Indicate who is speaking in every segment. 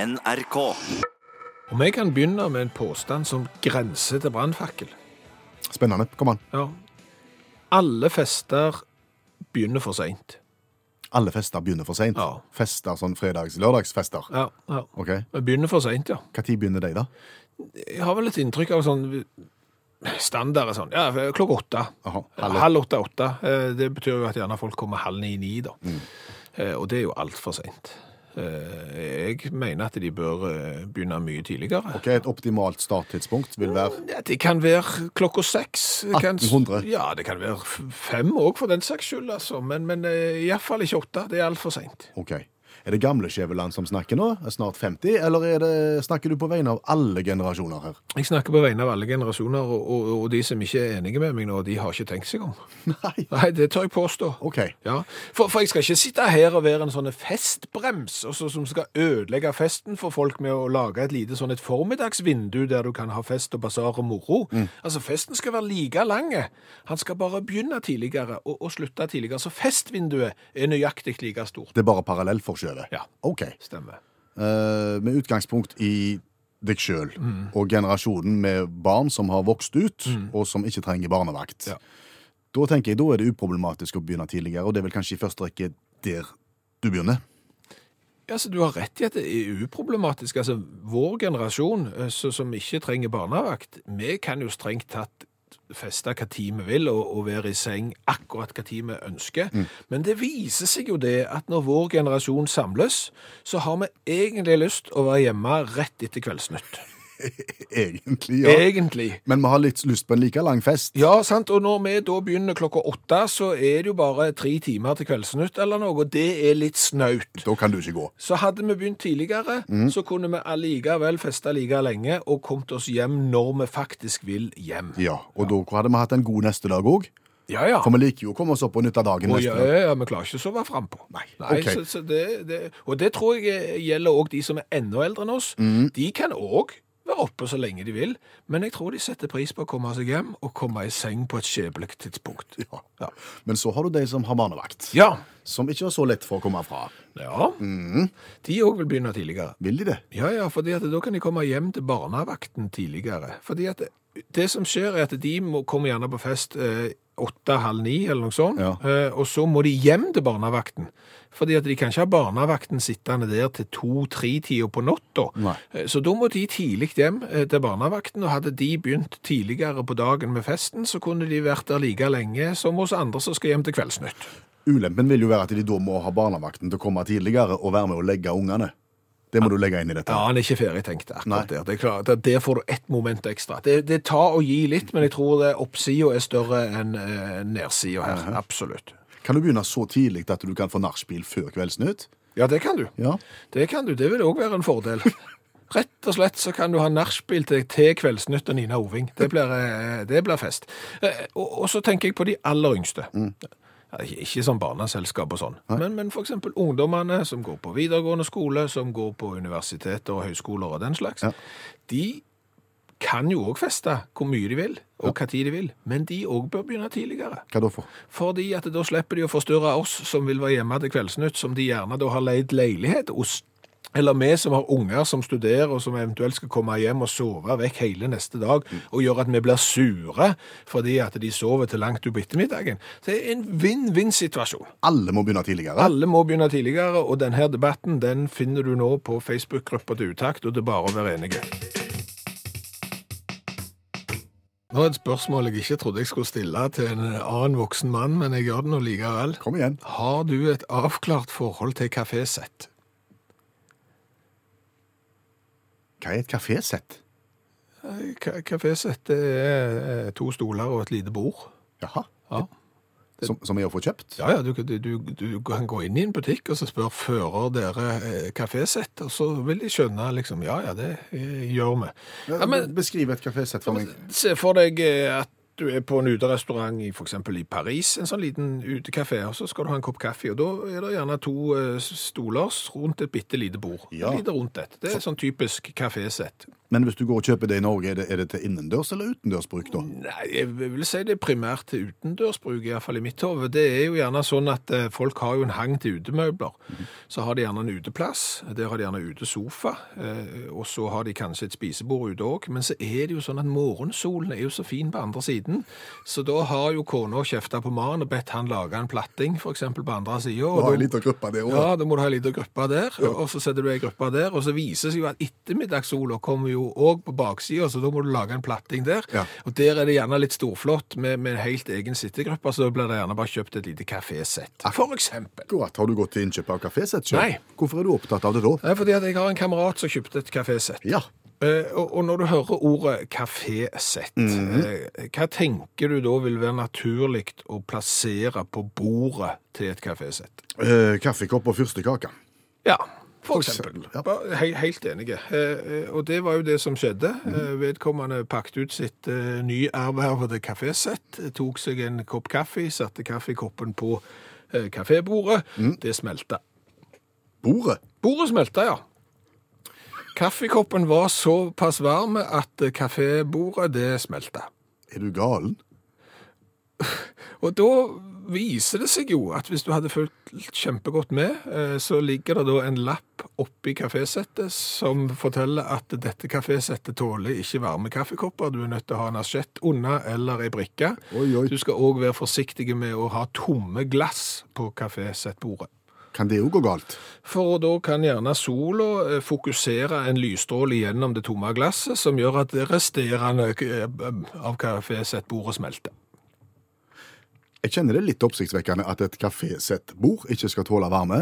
Speaker 1: NRK.
Speaker 2: Om jeg kan begynne med en påstand som grenser til brannfakkel.
Speaker 3: Spennende. Kom an.
Speaker 2: Ja. Alle fester begynner for seint.
Speaker 3: Alle fester begynner for seint.
Speaker 2: Ja.
Speaker 3: Fester sånn fredags-lørdagsfester.
Speaker 2: Ja, ja.
Speaker 3: OK.
Speaker 2: Begynner for seint, ja.
Speaker 3: Når begynner de, da?
Speaker 2: Jeg har vel et inntrykk av sånn standard er sånn ja, klokka åtte.
Speaker 3: Aha, halv-
Speaker 2: Halv, åtte-åtte. Det betyr jo at gjerne folk kommer halv ni-ni, da. Eh, Og det er jo altfor seint. Eh, Jeg mener at de bør eh, begynne mye tidligere.
Speaker 3: Ok, Et optimalt starttidspunkt vil være
Speaker 2: Ja, det kan være klokka seks. Det kan-
Speaker 3: 1800.
Speaker 2: Ja, det kan være f- fem òg, for den saks skyld, altså. Men, men eh, i hvert fall ikke åtte. Det er altfor seint.
Speaker 3: OK. Er det gamle Skjæveland som snakker nå? Er snart 50? Eller er det, snakker du på vegne av alle generasjoner her?
Speaker 2: Jeg snakker på vegne av alle generasjoner, og, og, og de som ikke er enige med meg nå, de har ikke tenkt seg om.
Speaker 3: Nei.
Speaker 2: Nei, det tør jeg påstå.
Speaker 3: OK.
Speaker 2: Ja, for, for jeg skal ikke sitte her og være en sånn festbrems og så, som skal ødelegge festen for folk med å lage et lite sånn et formiddagsvindu der du kan ha fest og basar og moro. Altså, festen skal være like lang. Han skal bare begynne tidligere og, og slutte tidligere. Så festvinduet er nøyaktig like stort.
Speaker 3: Det er bare parallellforskjøvet?
Speaker 2: Ja.
Speaker 3: OK.
Speaker 2: Stemmer.
Speaker 3: Eh, med utgangspunkt i deg sjøl
Speaker 2: Mm.
Speaker 3: og generasjonen med barn som har vokst ut, og som ikke trenger barnevakt.
Speaker 2: Ja.
Speaker 3: Da tenker jeg, da er det uproblematisk å begynne tidligere, og det er vel kanskje i første rekke der du begynner.
Speaker 2: Ja, så Du har rett i at det er uproblematisk. Altså, Vår generasjon eh, så, som ikke trenger barnevakt, vi kan jo strengt tatt feste hva tid vi vil og, og være i seng akkurat hva tid vi ønsker. Men det viser seg jo det at når vår generasjon samles, så har vi egentlig lyst å være hjemme rett etter Kveldsnytt.
Speaker 3: Egentlig, ja.
Speaker 2: Egentlig.
Speaker 3: Men vi har litt lyst på en like lang fest.
Speaker 2: Eh. Ja, sant. Og når vi da begynner klokka åtte, så er det jo bare tre timer til Kveldsnytt eller noe, og det er litt snaut.
Speaker 3: Da kan du ikke gå.
Speaker 2: Så hadde vi begynt tidligere,
Speaker 3: Mhm.
Speaker 2: så kunne vi allikevel feste like lenge og kommet oss hjem når vi faktisk vil hjem.
Speaker 3: Ja, Og da hadde vi hatt en god neste dag òg.
Speaker 2: Ja, ja.
Speaker 3: For vi liker jo å komme oss opp og nytte dagen
Speaker 2: Og
Speaker 3: neste
Speaker 2: ja,
Speaker 3: dag.
Speaker 2: ja, vi klarer ikke å sove frampå. Nei.
Speaker 3: ok.
Speaker 2: så, så det, det, og det tror jeg eh, gjelder òg de som er enda eldre enn oss.
Speaker 3: Mhm.
Speaker 2: De kan òg være oppe så lenge de vil, men jeg tror de setter pris på å komme seg hjem og komme i seng på et skjebnelig tidspunkt.
Speaker 3: Ja.
Speaker 2: Ja.
Speaker 3: Men så har du de som har barnevakt.
Speaker 2: Ja.
Speaker 3: Som ikke er så lett for å komme fra.
Speaker 2: ja.
Speaker 3: Mm.
Speaker 2: De òg vil begynne tidligere.
Speaker 3: Vil de det?
Speaker 2: Ja, ja, fordi at da kan de komme hjem til barnevakten tidligere. Fordi at det, det som skjer er at de må komme gjerne på fest eh, åtte, halv ni eller noe sånt,
Speaker 3: Ja.
Speaker 2: eh, og så må de hjem til barnevakten. Fordi at de kan ikke ha barnevakten sittende der til to-tre-tida på natta.
Speaker 3: Nei.
Speaker 2: Eh, Så da må de tidlig hjem eh, til barnevakten, og hadde de begynt tidligere på dagen med festen, så kunne de vært der like lenge som oss andre som skal hjem til Kveldsnytt.
Speaker 3: Ulempen vil jo være at de da må ha barnevakten til å komme tidligere og være med å legge ungene. Det må du legge inn i dette.
Speaker 2: Ja, han er ikke ferdig tenkt akkurat
Speaker 3: Nei.
Speaker 2: der. Det er klart, der, der får du ett moment ekstra. Det, det tar og gi litt, men jeg tror det oppsida er større enn eh, nedsida her. Absolutt.
Speaker 3: Kan du begynne så tidlig at du kan få nachspiel før Kveldsnytt?
Speaker 2: Ja, det kan du.
Speaker 3: Ja.
Speaker 2: Det kan du. Det vil òg være en fordel. Rett og slett så kan du ha nachspiel til, til Kveldsnytt og Nina Oving. Det blir, eh, det blir fest. Eh, Og, og så tenker jeg på de aller yngste. Ja, ikke- Ikke sånn barneselskap og sånn, men, men f.eks. ungdommene som går på videregående skole, som går på universiteter og høyskoler og den slags. De kan jo òg feste hvor mye de vil, og hva tid de vil, men de òg bør begynne tidligere.
Speaker 3: Hva da for?
Speaker 2: Fordi at da slipper de å forstyrre oss som vil være hjemme til Kveldsnytt, som de gjerne da har leid leilighet hos. Eller vi som har unger som studerer, og som eventuelt skal komme hjem og sove vekk hele neste dag, og gjøre at vi blir sure fordi at de sover til langt utpå ettermiddagen. Så Det er en vinn-vinn-situasjon.
Speaker 3: Alle må begynne tidligere.
Speaker 2: Alle må begynne tidligere, og denne debatten den finner du nå på Facebook-gruppa til Utakt, og det er bare å være enige. Nå er et spørsmål jeg ikke trodde jeg skulle stille til en annen voksen mann, men jeg gjør det nå likevel.
Speaker 3: Kom igjen.
Speaker 2: Har du et avklart forhold til kafésett?
Speaker 3: Hva er et kafésett?
Speaker 2: Ka- Kafésett det er eh, to stoler og et lite bord.
Speaker 3: Jaha.
Speaker 2: Ja.
Speaker 3: Som, som er å få kjøpt?
Speaker 2: Ja, ja, du, du, du, du kan gå inn i en butikk og så spør fører dere eh, kafésett, og så vil de skjønne liksom, ja, ja, det eh, gjør vi. Ja, men
Speaker 3: Beskriv et kafésett for meg.
Speaker 2: se for deg eh, at du er på en uterestaurant i for eksempel i Paris, en sånn liten utekafé, og så skal du ha en kopp kaffe, og da er det gjerne to eh, stoler rundt et bitte lite bord.
Speaker 3: Ja.
Speaker 2: Lite rundt et. Det er sånn typisk kafésett.
Speaker 3: Men hvis du går og kjøper det i Norge, er det, er det til innendørs eller utendørsbruk da?
Speaker 2: Nei, jeg vil si det er primært til utendørsbruk, iallfall i mitt hode. Det er jo gjerne sånn at eh, folk har jo en hang til utemøbler. Så har de gjerne en uteplass, der har de gjerne utesofa, eh, og så har de kanskje et spisebord ute òg. Men så er det jo sånn at morgensolen er jo så fin på andre siden, så da har jo kona kjefta på mannen og bedt han lage en platting, f.eks. på andre sida.
Speaker 3: Du har en liten gruppe det òg.
Speaker 2: Ja, da må du ha ei lita gruppe der, og så setter du ei gruppe der. Og så viser det seg jo at ettermiddagssola kommer jo òg på baksida, så da må du lage en platting der.
Speaker 3: Ja.
Speaker 2: Og der er det gjerne litt storflått med, med en helt egen sittegruppe, så da blir det gjerne bare kjøpt et lite kafésett. For eksempel.
Speaker 3: Akkurat. Har du gått til innkjøp av kafésett selv?
Speaker 2: Nei.
Speaker 3: Hvorfor er du opptatt av det da?
Speaker 2: Det er fordi at jeg har en kamerat som kjøpte et kafésett.
Speaker 3: Ja.
Speaker 2: Eh, og, og når du hører ordet kafésett, eh, hva tenker du da vil være naturlig å plassere på bordet til et kafésett?
Speaker 3: Eh, kaffekopp og fyrstekake.
Speaker 2: Ja, for
Speaker 3: eksempel.
Speaker 2: eksempel. Bare He helt enige. Eh, eh, Og det var jo det som skjedde. Eh, Vedkommende pakket ut sitt eh, nyervervede kafésett, eh, tok seg en kopp kaffe, satte kaffekoppen på eh, kafébordet. Det smelta.
Speaker 3: Bordet.
Speaker 2: Bordet smelta, ja. Kaffekoppen var såpass varm at eh, kafébordet, det smelta.
Speaker 3: Er du galen?
Speaker 2: Og da viser det seg jo at hvis du hadde fulgt kjempegodt med, eh, så ligger det da en lapp oppi kafésettet som forteller at dette kafésettet tåler ikke varme kaffekopper. Du er nødt til å ha en asjett unna eller ei brikke.
Speaker 3: Oi, oi.
Speaker 2: Du skal òg være forsiktig med å ha tomme glass på kafésettbordet.
Speaker 3: Kan det jo gå galt?
Speaker 2: For da kan gjerne sola eh, fokusere en lysstråle gjennom det tomme glasset, som gjør at det resterende eh, av kafésettbordet smelter.
Speaker 3: Jeg kjenner det litt oppsiktsvekkende at et kafésettbord ikke skal tåle varme.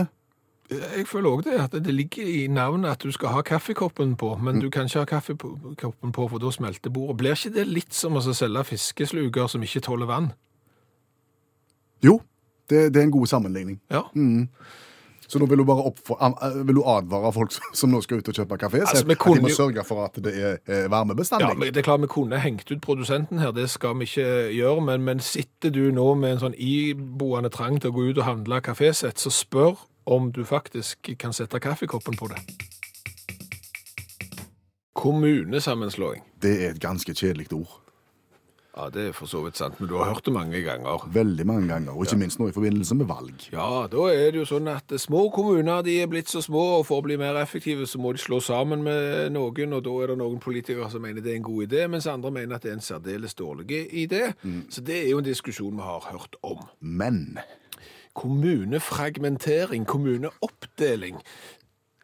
Speaker 2: Jeg føler òg det, at det ligger i navnet at du skal ha kaffekoppen på, men du kan ikke ha kaffekoppen på, for da smelter bordet. Blir ikke det litt som å selge fiskesluker som ikke tåler vann?
Speaker 3: Jo, det, det er en god sammenligning.
Speaker 2: Ja.
Speaker 3: Så nå vil du bare oppfor, an- eh, vil du advare folk som, som nå skal ut og kjøpe kafé,
Speaker 2: Altså,
Speaker 3: altså,
Speaker 2: vi
Speaker 3: at
Speaker 2: kunne
Speaker 3: de må
Speaker 2: jo-
Speaker 3: sørge for at det er eh,
Speaker 2: ja,
Speaker 3: varmebestandig.
Speaker 2: men Det er klart vi kunne hengt ut produsenten her, det skal vi ikke gjøre, men, men sitter du nå med en sånn iboende trang til å gå ut og handle kafésett, så spør om du faktisk kan sette kaffekoppen på det. Kommunesammenslåing.
Speaker 3: Det er et ganske kjedelig ord.
Speaker 2: Ja, det er for så vidt sant, men du har hørt det mange ganger.
Speaker 3: Veldig mange ganger, og ikke minst nå i forbindelse med valg.
Speaker 2: Ja, da er det jo sånn at små kommuner de er blitt så små, og for å bli mer effektive så må de slå sammen med noen, og da er det noen politikere som mener det er en god idé, mens andre mener at det er en særdeles dårlig idé. Så det er jo en diskusjon vi har hørt om.
Speaker 3: Men
Speaker 2: Kommunefragmentering, kommuneoppdeling.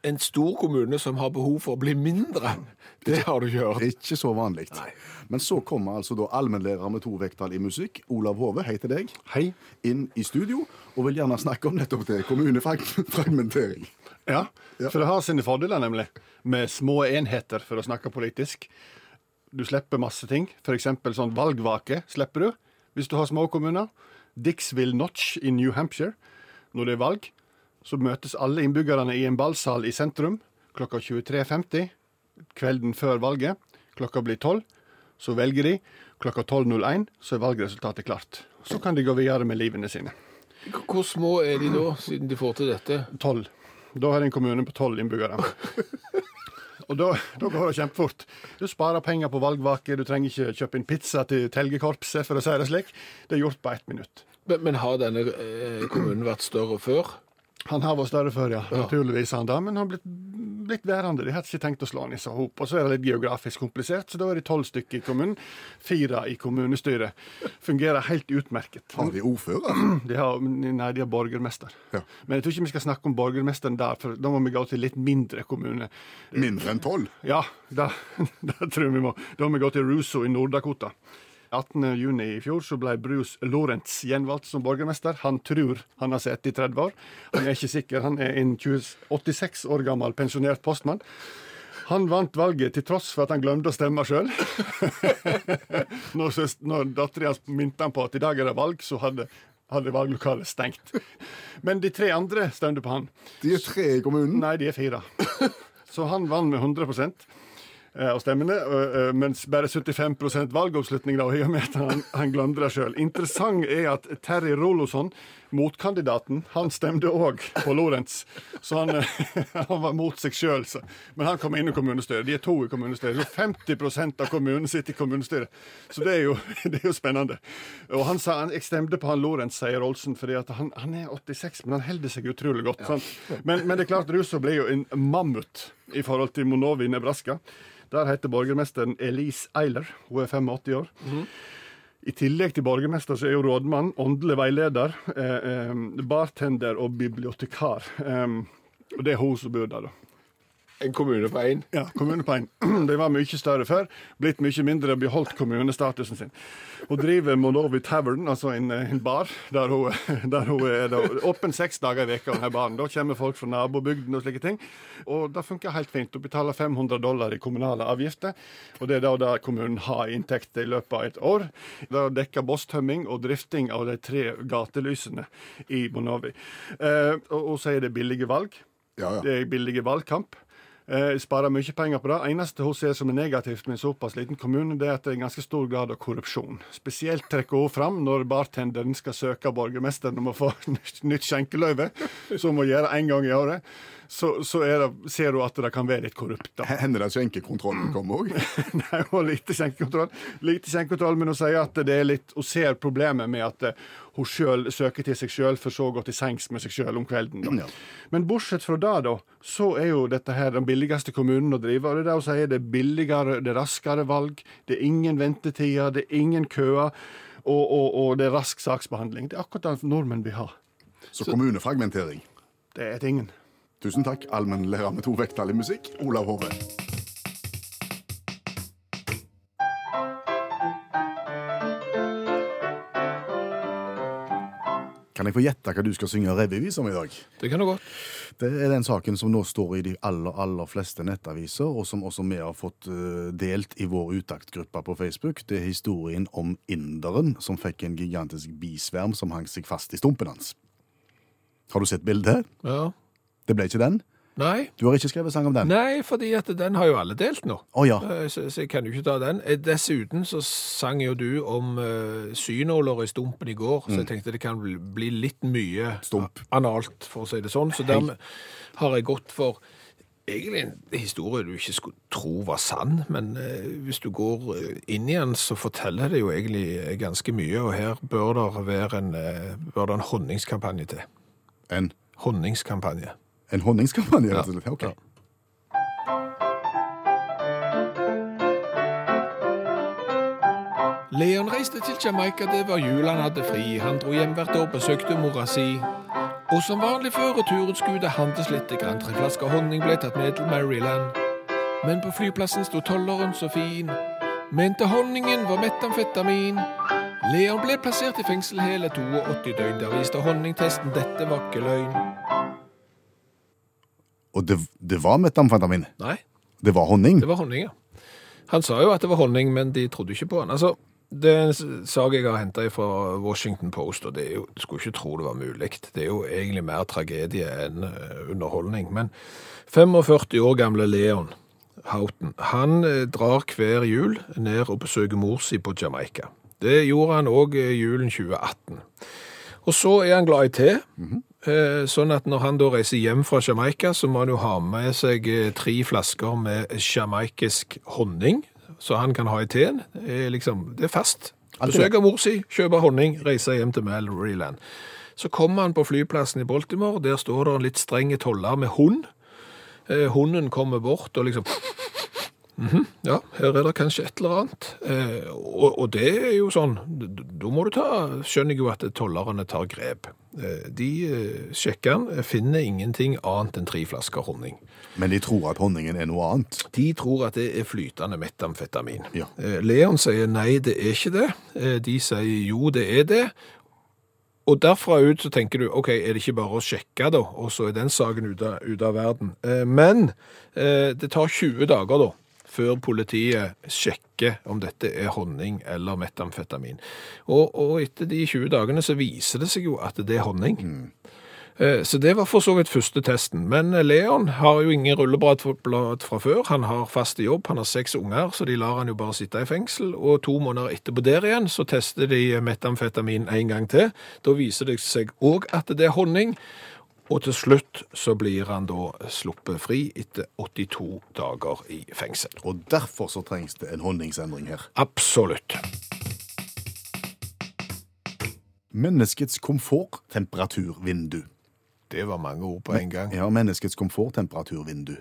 Speaker 2: En stor kommune som har behov for å bli mindre, det har du ikke hørt.
Speaker 3: ikke så vanlig.
Speaker 2: Nei.
Speaker 3: Men så kommer altså da allmennlærer med to vekttall i musikk, Olav Hove, hei til deg,
Speaker 1: Hei.
Speaker 3: inn i studio, og vil gjerne snakke om nettopp det, kommunefragmentering.
Speaker 1: Ja, for det har sine fordeler, nemlig, med små enheter, for å snakke politisk. Du slipper masse ting, f.eks. sånn valgvake slipper du hvis du har små kommuner. Dixville Notch i New Hampshire. Når det er valg, så møtes alle innbyggerne i en ballsal i sentrum klokka 23.50 kvelden før valget. Klokka blir 12, så velger de. Klokka 12.01 så er valgresultatet klart. Så kan de gå videre med livene sine.
Speaker 2: H- Hvor små er de da, siden de får til dette?
Speaker 1: 12. Da har en kommune på 12 innbyggere. Og da, da går det kjempefort. Du sparer penger på valgvake, du trenger ikke kjøpe inn pizza til telgekorpset, for å si det slik. Det er gjort på ett minutt.
Speaker 2: Men, men har denne eh, kommunen vært større før?
Speaker 1: Han har vært større før, ja. Naturligvis han da, men han har blitt, blitt værende. De hadde ikke tenkt å slå han i seg hop. Og så er det litt geografisk komplisert, så da er de tolv stykker i kommunen. Fire i kommunestyret. Fungerer helt utmerket.
Speaker 3: Har vi ordfører?
Speaker 1: De har, nei, de har borgermester.
Speaker 3: Ja.
Speaker 1: Men jeg tror ikke vi skal snakke om borgermesteren der, for da må vi gå til litt mindre kommune.
Speaker 3: Mindre enn tolv?
Speaker 1: Ja, da, da tror jeg vi må. Da må vi gå til Ruso i Nord-Dakota. 18. juni i fjor så ble Bruce Lorentz gjenvalgt som borgermester. Han tror han har sittet i 30 år. Han er ikke sikker. Han er en 20 86 år gammel pensjonert postmann. Han vant valget til tross for at han glemte å stemme sjøl. når søs- når dattera hans minte han på at i dag er det valg, så hadde, hadde valglokalet stengt. Men de tre andre stemte på han.
Speaker 3: De er tre i kommunen.
Speaker 1: Nei, de er fire. Så han vant med 100 av stemmene, ø, ø, mens bare 75 valgoppslutning, da, i og med at han, han glemte det sjøl. Interessant er at Terry Roloson Motkandidaten han stemte òg på Lorentz, så han, eh, han var mot seg sjøl. Men han kom inn i kommunestyret. De er to i kommunestyret. Så 50 av kommunen sitter i kommunestyret. Så det er jo, det er jo spennende. Og han sa han, jeg stemte på han Lorentz, sier Olsen, fordi at han, han er 86, men han holder seg utrolig godt. Sant? Men, men det er klart, Russo ble jo en mammut i forhold til Monovi i Nebraska. Der heter borgermesteren Elise Eiler. Hun er 85 år. I tillegg til borgermester så er jo rådmann, åndelig veileder, eh, eh, bartender og bibliotekar. Eh, og det er hun som bor der, da.
Speaker 4: En kommune på én.
Speaker 1: Ja, kommunepein. De var mye større før, blitt mye mindre, beholdt kommunestatusen sin. Hun driver Monovi Tavern, altså en, en bar, der hun, der hun er da, åpen seks dager i veka, denne baren. Da kommer folk fra nabobygden og slike ting. Og det funker helt fint. Hun betaler 500 dollar i kommunale avgifter, og det er da det kommunen har i inntekter i løpet av et år. Det dekker bosstømming og drifting av de tre gatelysene i Monovi. Eh, og hun sier det er billige valg.
Speaker 3: Ja, ja.
Speaker 1: Det er billig valgkamp. Eh, sparer mye penger på det. Eneste hun ser som er negativt med en såpass liten kommune, det er at det er en ganske stor grad av korrupsjon. Spesielt trekker hun fram når bartenderen skal søke borgermesteren om å få nytt, nytt skjenkeløyve, som hun gjør én gang i året. Så, så er det, ser hun at det kan være litt korrupt. da.
Speaker 3: Hender det at skjenkekontrollen kommer òg?
Speaker 1: Nei, og lite skjenkekontroll. Lite skjenkekontroll, men hun sier at det er litt Hun ser problemet med at eh, hun sjøl søker til seg sjøl, for så å gå til sengs med seg sjøl om kvelden. Da.
Speaker 3: Ja.
Speaker 1: Men bortsett fra det, da, så er jo dette her den billigste kommunen å drive. Og det er det hun sier, det er billigere, det er raskere valg, det er ingen ventetider, det er ingen køer, og, og, og det er rask saksbehandling. Det er akkurat det nordmenn vil ha.
Speaker 3: Så kommunefragmentering.
Speaker 1: Det er tingen.
Speaker 3: Tusen takk, allmennlærer med to vekttall i musikk, Olav Hove. Kan jeg få gjette hva du skal synge revyvis om i dag?
Speaker 2: Det kan du godt.
Speaker 3: Det er den saken som nå står i de aller, aller fleste nettaviser, og som også vi har fått eh, delt i vår utaktgruppe på Facebook. Det er historien om inderen som fikk en gigantisk bisverm som hang seg fast i stumpen hans. Har du sett bildet?
Speaker 2: Ja.
Speaker 3: Det ble ikke den?
Speaker 2: Nei.
Speaker 3: Du har ikke skrevet sang om den?
Speaker 2: Nei, fordi at den har jo alle delt nå.
Speaker 3: Å ja.
Speaker 2: Eh, Så, så jeg kan jo ikke ta den. Eh, Dessuten så sang jo du om uh, synåler i stumpen i går, så jeg tenkte det kan bli- bli litt mye
Speaker 3: Stump.
Speaker 2: analt, for å si det sånn. Så dermed har jeg gått for egentlig en historie du ikke skulle tro var sann, men eh, hvis du går eh, inn i den, så forteller det jo egentlig eh, ganske mye, og her bør det være en, eh, bør det en honningskampanje til.
Speaker 3: En,
Speaker 2: Honningskampanje.
Speaker 3: en honningskampanje, rett og slett. Ok.
Speaker 2: Ja. Leon reiste til Jamaica, det var jul han hadde fri. Han dro hjem hvert år, besøkte mora si. Og som vanlig før turen skulle det handles lite grann. Tre flasker honning ble tatt med til Maryland. Men på flyplassen sto tolleren så fin. Mente honningen var metamfetamin. Leon ble plassert i fengsel hele 82 døgn. Der viste honningtesten dette var ikke løgn.
Speaker 3: Og det, det var metamfetamin.
Speaker 2: Nei,
Speaker 3: Det var honning.
Speaker 2: Det var honning, ja. Han sa jo at det var honning, men de trodde ikke på han. Altså, det er en s- sak jeg har henta fra Washington Post, og det er jo, du skulle ikke tro det var mulig. Det er jo egentlig mer tragedie enn eh, underholdning. Men 45 år gamle Leon Houghton, han eh, drar hver jul ned og besøker mor si på Jamaica. Det gjorde han òg julen 2018. Og så er han glad i te. Eh, Sånn at når han da reiser hjem fra Jamaica, så må han jo ha med seg eh, tre flasker med jamaikisk honning, så han kan ha i teen. Det er Liksom, det er fast.
Speaker 3: Alt er det.
Speaker 2: Besøke mor si, kjøpe honning, reise hjem til Maryland. Så kommer han på flyplassen i Baltimore, der står det en litt streng toller med hund. Eh, Hunden kommer bort og liksom ja, her er det kanskje et eller annet. Eh, og, og det er jo sånn, d- d- da må du ta, skjønner jeg jo at tollerne tar grep. Eh, de eh, sjekker den, finner ingenting annet enn tre flasker honning.
Speaker 3: Men de tror at honningen er noe annet.
Speaker 2: De tror at det er flytende metamfetamin.
Speaker 3: Ja.
Speaker 2: Eh, Leon sier nei, det er ikke det. Eh, de sier jo, det er det. Og derfra ut så tenker du, ok, er det ikke bare å sjekke da, og så er den saken ute av, ut av verden. Eh, men eh, det tar 20 dager da, før politiet sjekker om dette er honning eller metamfetamin. Og, og etter de 20 dagene så viser det seg jo at det er honning. Eh, Så det var for så vidt første testen. Men eh, Leon har jo ingen rulleblad fra før. Han har fast jobb, han har seks unger, så de lar han jo bare sitte i fengsel. Og to måneder etterpå der igjen så tester de metamfetamin en gang til. Da viser det seg òg at det er honning. Og til slutt så blir han da sluppet fri etter 82 dager i fengsel.
Speaker 3: Og derfor så trengs det en honningsendring her.
Speaker 2: Absolutt.
Speaker 3: Menneskets komfort, temperaturvindu.
Speaker 2: Det var mange ord på en gang.
Speaker 3: Ja, menneskets komfort, temperaturvindu.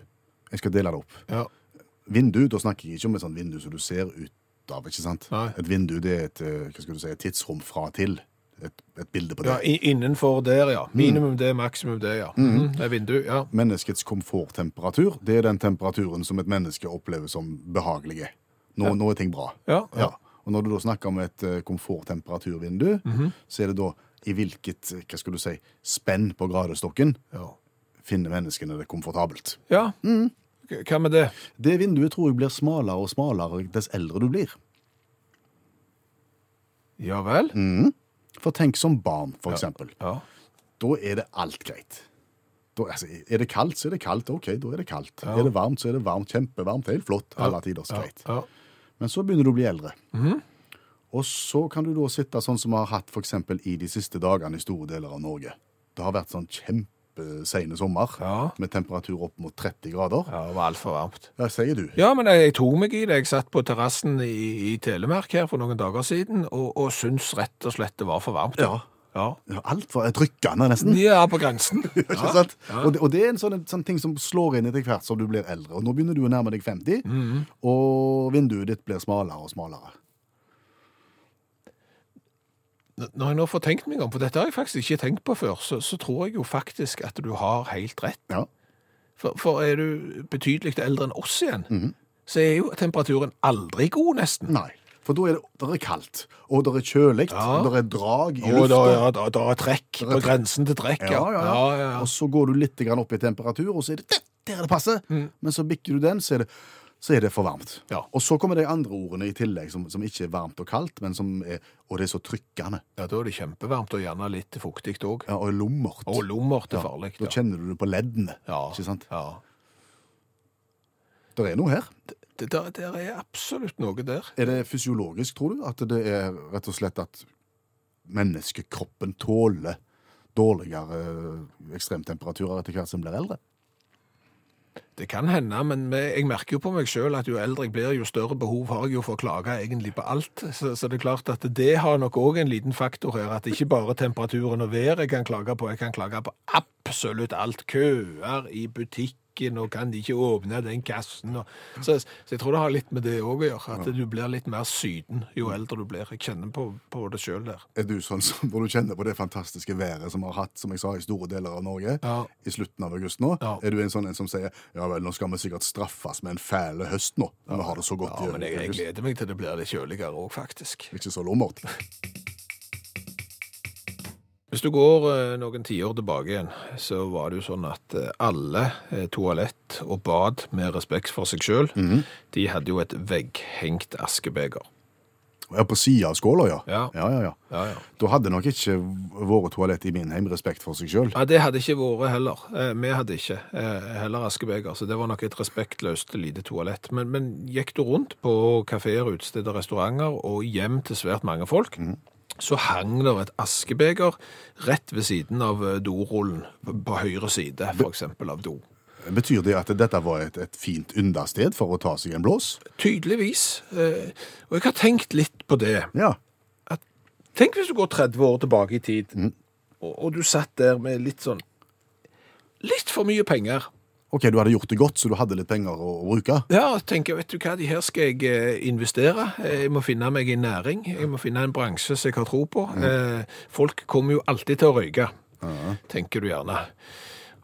Speaker 3: Jeg skal dele det opp.
Speaker 2: Ja.
Speaker 3: Vindu, da snakker jeg ikke om et sånt vindu som du ser ut av, ikke sant?
Speaker 2: Nei.
Speaker 3: Et vindu, det er et, eh, hva skal du si, et tidsrom fra til. Et, et bilde på det.
Speaker 2: Ja, i- Innenfor der, ja. Minimum det, maksimum det, ja. Mm, det er vindu, ja.
Speaker 3: Menneskets komforttemperatur, det er den temperaturen som et menneske opplever som behagelige. Nå, nå er ting bra.
Speaker 2: Ja, ja.
Speaker 3: Og når du da snakker om et eh, komforttemperaturvindu,
Speaker 2: Mhm.
Speaker 3: så er det da i hvilket, eh, hva skal du si, spenn på gradestokken
Speaker 2: Ja.
Speaker 3: finner menneskene det komfortabelt.
Speaker 2: ja. K- Hva med det?
Speaker 3: Det vinduet tror jeg blir smalere og smalere dess eldre du blir.
Speaker 2: Ja vel?
Speaker 3: For tenk som barn, for eksempel.
Speaker 2: Ja.
Speaker 3: da er det alt greit. Da, altså, er det kaldt, så er det kaldt. Ok, da er det kaldt. Er det varmt, så er det varmt. Kjempevarmt. Helt flott. Alle tiders greit.
Speaker 2: Ja. Mhm.
Speaker 3: Men så begynner du å bli eldre. Og så kan du da sitte sånn som vi har hatt for eksempel i de siste dagene i store deler av Norge. Det har vært sånn kjempesene sommer
Speaker 2: Ja.
Speaker 3: med temperatur opp mot 30 grader.
Speaker 2: ja, det var altfor varmt.
Speaker 3: Ja, sier du.
Speaker 2: Ja, men jeg, jeg tok meg i det. Jeg satt på terrassen i, i Telemark her for noen dager siden og, og syntes rett og slett det var for varmt.
Speaker 3: Ja.
Speaker 2: Ja,
Speaker 3: Ja, Alt var trykkende, nesten.
Speaker 2: ja på grensen.
Speaker 3: Ikke sant? Og, det, og det er en sånn, en sånn ting som slår inn etter hvert som du blir eldre. Og nå begynner du å nærme deg 50, og vinduet ditt blir smalere og smalere.
Speaker 2: N- Når jeg nå får tenkt meg om, for dette har jeg faktisk ikke tenkt på før, så, så tror jeg jo faktisk at du har helt rett.
Speaker 3: Ja.
Speaker 2: For, for er du betydelig eldre enn oss igjen, så er jo temperaturen aldri god, nesten.
Speaker 3: Nei. For da er det, der er kaldt, og det er kjølig,
Speaker 2: Ja.
Speaker 3: det er drag i
Speaker 2: Og
Speaker 3: lufta.
Speaker 2: da, ja, da, da er trekk på grensen til trekk,
Speaker 3: Ja, ja, ja.
Speaker 2: ja, ja.
Speaker 3: Og så går du litt grann opp i temperatur, og så er det der, der det passer. Men så bikker du den, så er det, så er det for varmt.
Speaker 2: Ja.
Speaker 3: Og så kommer de andre ordene i tillegg, som, som ikke er varmt og kaldt, men som er, og det er så trykkende.
Speaker 2: Ja, da er det kjempevarmt og gjerne litt fuktig òg.
Speaker 3: Ja, og lummert.
Speaker 2: Og lummert er farlig.
Speaker 3: Da kjenner du det på leddene.
Speaker 2: Ja,
Speaker 3: Ikke sant?
Speaker 2: Ja.
Speaker 3: Det er noe her.
Speaker 2: Det der, der er absolutt noe der.
Speaker 3: Er det fysiologisk, tror du? At det er rett og slett at menneskekroppen tåler dårligere eh, ekstremtemperaturer etter hvert som blir eldre?
Speaker 2: Det kan hende, men vi- jeg merker jo på meg sjøl at jo eldre jeg blir, jo større behov har jeg jo for å klage egentlig på alt. Så, så det er klart at det har nok òg en liten faktor her. At ikke bare temperaturen og været jeg kan klage på, jeg kan klage på absolutt alt. Køer i butikken, og kan de ikke åpne den kassen? Og, så, så jeg tror det har litt med det òg å gjøre. At du blir litt mer syden jo eldre du blir. Jeg kjenner på, på det sjøl der.
Speaker 3: Er du sånn som hvor du kjenner på det fantastiske været som vi har hatt, som jeg sa, i store deler av Norge
Speaker 2: Ja.
Speaker 3: i slutten av august nå?
Speaker 2: Ja.
Speaker 3: Er du en sånn en som sier ja vel, nå skal vi sikkert straffes med en fæl høst nå, men vi har det så godt
Speaker 2: Ja,
Speaker 3: i
Speaker 2: men jeg, jeg
Speaker 3: august.
Speaker 2: gleder meg til det blir litt kjøligere òg, faktisk.
Speaker 3: Ikke så lummert.
Speaker 2: Hvis du går eh, noen tiår tilbake igjen, så var det jo sånn at eh, alle eh, toalett og bad med respekt for seg sjøl, de hadde jo et vegghengt askebeger.
Speaker 3: Ja, på sida av skåla, ja.
Speaker 2: Ja.
Speaker 3: ja, ja, ja.
Speaker 2: Ja, ja.
Speaker 3: Da hadde nok ikke våre toalett i min heim respekt for seg sjøl.
Speaker 2: Ja, Det hadde ikke vært heller. Eh, Vi hadde ikke eh, heller askebeger, så det var nok et respektløst lite toalett. Men, men gikk du rundt på kafeer, utesteder, restauranter og hjem til svært mange folk, så hang der et askebeger rett ved siden av eh, dorullen, på, på høyre side f.eks. av do.
Speaker 3: Betyr det at dette var et, et fint understed for å ta seg en blås?
Speaker 2: Tydeligvis. Eh, Og jeg har tenkt litt på det.
Speaker 3: Ja.
Speaker 2: At, tenk hvis du går 30 år tilbake i tid, og, og du satt der med litt sånn Litt for mye penger.
Speaker 3: Ok, du hadde gjort det godt, så du hadde litt penger å, å bruke.
Speaker 2: Ja, og tenker vet du hva, de her skal jeg eh, investere. Eh, Jeg må finne meg en næring. Jeg må finne en bransje som jeg har tro på. Eh, Folk kommer jo alltid til å røyke, tenker du gjerne.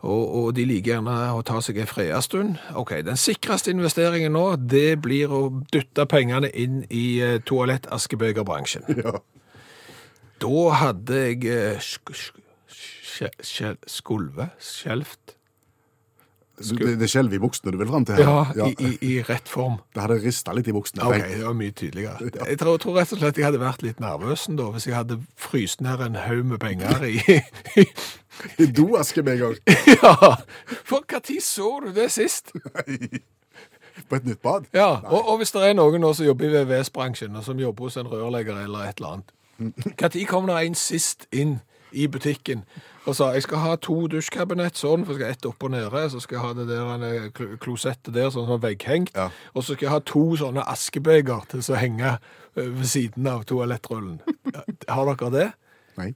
Speaker 2: Og, og de liker gjerne å ta seg en fredagstund. Ok, den sikreste investeringen nå, det blir å dytte pengene inn i eh, toalett-askebegerbransjen. Da hadde jeg eh, sk- sk- skje- skje- skulve, skjelvt,
Speaker 3: Du, det, det skjelver i buksene du vil fram til her.
Speaker 2: Ja, i, i, i rett form.
Speaker 3: Det hadde rista litt i buksene.
Speaker 2: Ok,
Speaker 3: tenk.
Speaker 2: det var mye tydeligere. Jeg tror, tror rett og slett jeg hadde vært litt nervøs da, hvis jeg hadde fryst ned en haug med penger i
Speaker 3: I doaske med en gang.
Speaker 2: Ja! For når så du det sist?
Speaker 3: På et nytt bad.
Speaker 2: Ja, og, og hvis det er noen nå som jobber i VVS-bransjen, og som jobber hos en rørlegger eller et eller annet, når kom det en sist inn i butikken og sa jeg skal ha to dusjkabinett sånn, for jeg skal ha ett oppe og nede, så skal jeg ha det der eh, kl- klosettet der sånn som er vegghengt,
Speaker 3: Ja.
Speaker 2: og så skal jeg ha to sånne askebeger til å henge eh, ved siden av toalettrullen. Ja, Har dere det?
Speaker 3: Nei.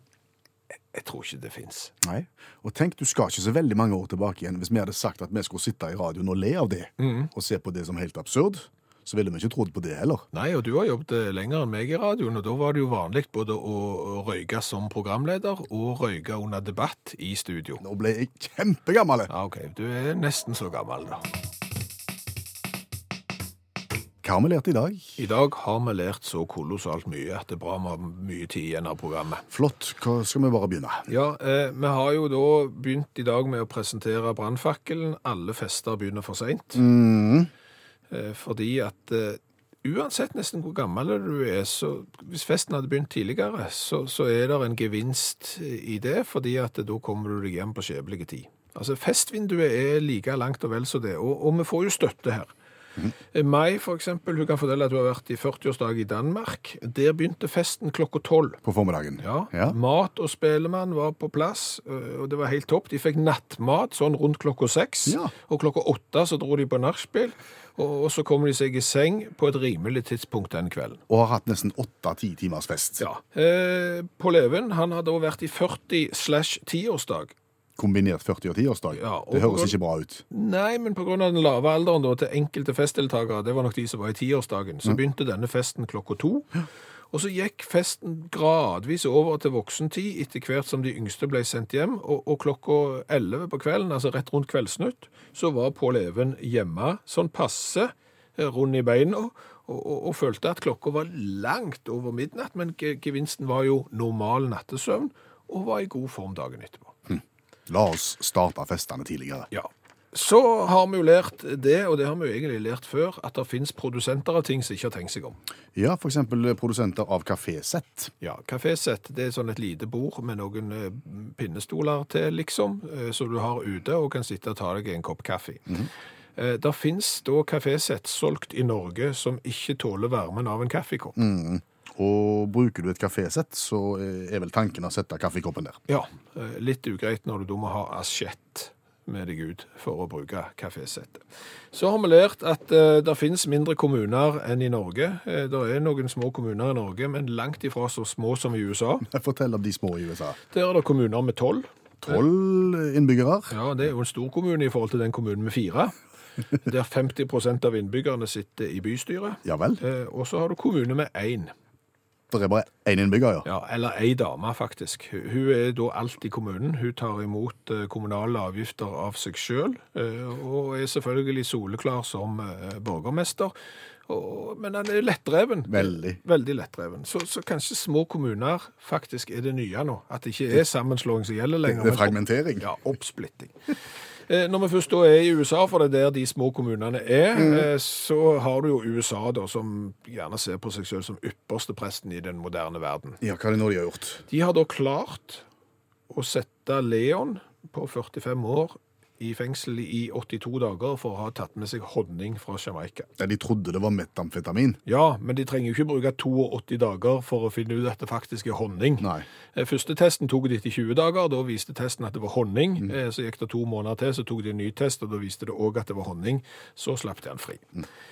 Speaker 2: Jeg tror ikke det fins.
Speaker 3: Nei. Og tenk, du skal ikke så veldig mange år tilbake igjen. Hvis vi hadde sagt at vi skulle sitte i radioen og le av det,
Speaker 2: Mm.
Speaker 3: og se på det som helt absurd, så ville vi ikke trodd på det heller.
Speaker 2: Nei, og du har jobbet eh, lenger enn meg i radioen, og da var det jo vanlig både å å røyke som programleder og røyke under debatt i studio.
Speaker 3: Nå ble jeg kjempegammel!
Speaker 2: Ja, ok, du er nesten så gammel da.
Speaker 3: Hva har vi lært i dag?
Speaker 2: I dag har vi lært så kolossalt mye at det er bra vi har mye tid igjen av programmet.
Speaker 3: Flott. Hva skal vi bare begynne?
Speaker 2: Ja, eh, vi har jo da begynt i dag med å presentere brannfakkelen. Alle fester begynner for sent.
Speaker 3: Mm.
Speaker 2: Eh, fordi at eh, uansett nesten hvor gammel du er, så hvis festen hadde begynt tidligere, så, så er det en gevinst i det, fordi at da kommer du deg hjem på skjebelig tid. Altså, festvinduet er like langt og vel som det, og, og vi får jo støtte her. Eh, Mai, for eksempel, hun kan fortelle at hun har vært i 40-årsdag i Danmark. Der begynte festen klokka 12.
Speaker 3: På formiddagen?
Speaker 2: Ja. Mat og spelemann var på plass, øh, og det var helt topp. De fikk nattmat sånn rundt klokka seks,
Speaker 3: Ja.
Speaker 2: og klokka åtte så dro de på nachspiel, og, og så kom de seg i seng på et rimelig tidspunkt den kvelden.
Speaker 3: Og har hatt nesten åtte-ti timers fest.
Speaker 2: Ja. Eh, på Leven, han hadde også vært i 40 slash 10-årsdag.
Speaker 3: Kombinert 40- og 10-årsdag.
Speaker 2: Ja, og-
Speaker 3: det høres ikke bra ut.
Speaker 2: Nei, men på grunn av den lave alderen da, til enkelte festdeltakere, det var nok de som var i tiårsdagen, så begynte denne festen klokka to. Og så gikk festen gradvis over til voksentid etter hvert som de yngste ble sendt hjem, og, og klokka elleve på kvelden, altså rett rundt kveldsnytt, så var Pål Even hjemme sånn passe eh, rund i beina, og, og, og følte at klokka var langt over midnatt, men ge- gevinsten var jo normal nattesøvn, og var i god form dagen etterpå.
Speaker 3: La oss starte festene tidligere.
Speaker 2: Ja. Så har vi jo lært det, og det har vi jo egentlig lært før, at det finnes produsenter av ting som ikke har tenkt seg om.
Speaker 3: Ja, for eksempel eh, produsenter av kafésett.
Speaker 2: Ja, Kafésett det er sånn et lite bord med noen eh, pinnestoler til, liksom, eh, som du har ute og kan sitte og ta deg en kopp kaffe. Eh, Det finnes da kafésett solgt i Norge som ikke tåler varmen av en kaffekopp.
Speaker 3: Og bruker du et kafésett, så eh, er vel tanken å sette kaffekoppen der.
Speaker 2: Ja, eh, litt ugreit når du da må ha asjett med deg ut for å bruke kafésettet. Så har vi lært at eh, det finnes mindre kommuner enn i Norge. Eh, det er noen små kommuner i Norge, men langt ifra så små som i USA.
Speaker 3: Fortell om de små i USA.
Speaker 2: Der er det kommuner med tolv.
Speaker 3: Tolv innbyggere.
Speaker 2: Ja, det er jo en stor kommune i forhold til den kommunen med fire. Der 50 av innbyggerne sitter i bystyret.
Speaker 3: Ja vel.
Speaker 2: Eh, og så har du kommune med én.
Speaker 3: Det er bare én innbygger, ja.
Speaker 2: Ja, eller ei dame, faktisk. Hun- Hun er da alt i kommunen. Hun tar imot eh, kommunale avgifter av seg sjøl, og er selvfølgelig soleklar som eh, borgermester. Og- Men han er lettdreven.
Speaker 3: Veldig.
Speaker 2: Veldig lettdreven. Så, så kanskje små kommuner faktisk er det nye nå. At det ikke er sammenslåing som gjelder lenger.
Speaker 3: Det
Speaker 2: men
Speaker 3: er fragmentering.
Speaker 2: ja, oppsplitting. Eh, Når vi først da er i USA, for det er der de små kommunene er,
Speaker 3: Mm.
Speaker 2: eh, så har du jo USA da, som gjerne ser på seg selv som ypperste presten i den moderne verden.
Speaker 3: Ja, hva er det nå de har gjort?
Speaker 2: De har da klart å sette Leon på 45 år i fengsel i 82 dager for å ha tatt med seg honning fra Jamaica.
Speaker 3: Nei, De trodde det var metamfetamin.
Speaker 2: Ja, men de trenger jo ikke bruke 82 dager for å finne ut at det faktisk er honning.
Speaker 3: Nei.
Speaker 2: Eh, Første testen tok de til 20 dager, da viste testen at det var honning. Eh, Så gikk det to måneder til, så tok de en ny test, og da viste det òg at det var honning. Så slapp de han fri.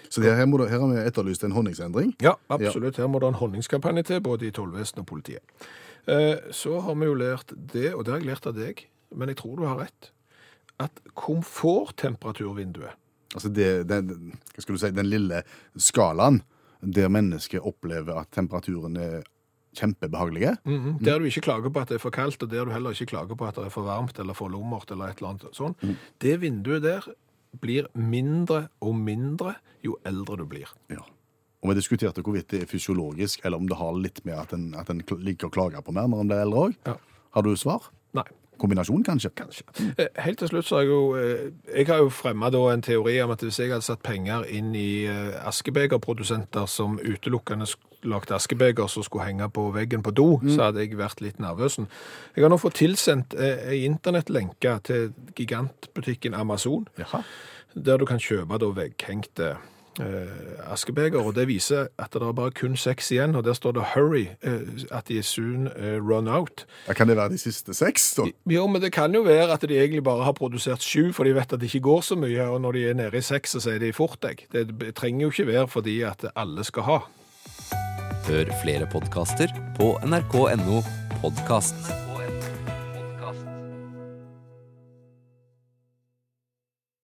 Speaker 3: Så det her, må du- her har vi etterlyst en honningsendring.
Speaker 2: Ja, absolutt. Her må det en honningskampanje til, både i tollvesenet og politiet. Eh, Så har vi jo lært det, og det har jeg lært av deg, men jeg tror du har rett, at komforttemperaturvinduet
Speaker 3: Altså det, den, hva skal du si, den lille skalaen der mennesket opplever at temperaturen er kjempebehagelige.
Speaker 2: Mhm. Der du ikke klager på at det er for kaldt, og der du heller ikke klager på at det er for varmt eller for lummert eller et eller annet sånn. Det vinduet der blir mindre og mindre jo eldre du blir.
Speaker 3: Ja. Og vi diskuterte hvorvidt det er fysiologisk, eller om det har litt med at en, at en kl- liker å klage på mer når en blir eldre òg.
Speaker 2: Ja.
Speaker 3: Har du svar?
Speaker 2: Nei.
Speaker 3: kombinasjon, kanskje.
Speaker 2: Kanskje. Eh, Helt til slutt så har jeg jo eh, Jeg har jo fremma da en teori om at hvis jeg hadde satt penger inn i eh, askebegerprodusenter som utelukkende sk- lagde askebeger som skulle henge på veggen på do, så hadde jeg vært litt nervøsen. Jeg har nå fått tilsendt eh, ei internettlenke til gigantbutikken Amazon,
Speaker 3: Jaha.
Speaker 2: der du kan kjøpe da vegghengte eh, askebeger, og det viser at det er bare kun seks igjen, og der står det 'hurry', eh, at de soon eh, run out.
Speaker 3: Ja, kan det være de siste seks, da?
Speaker 2: Jo, men det kan jo være at de egentlig bare har produsert sju, for de vet at det ikke går så mye, og når de er nede i seks, så sier de fort deg. Det trenger jo ikke være fordi at alle skal ha.
Speaker 5: Hør flere podkaster på nrk.no podkast.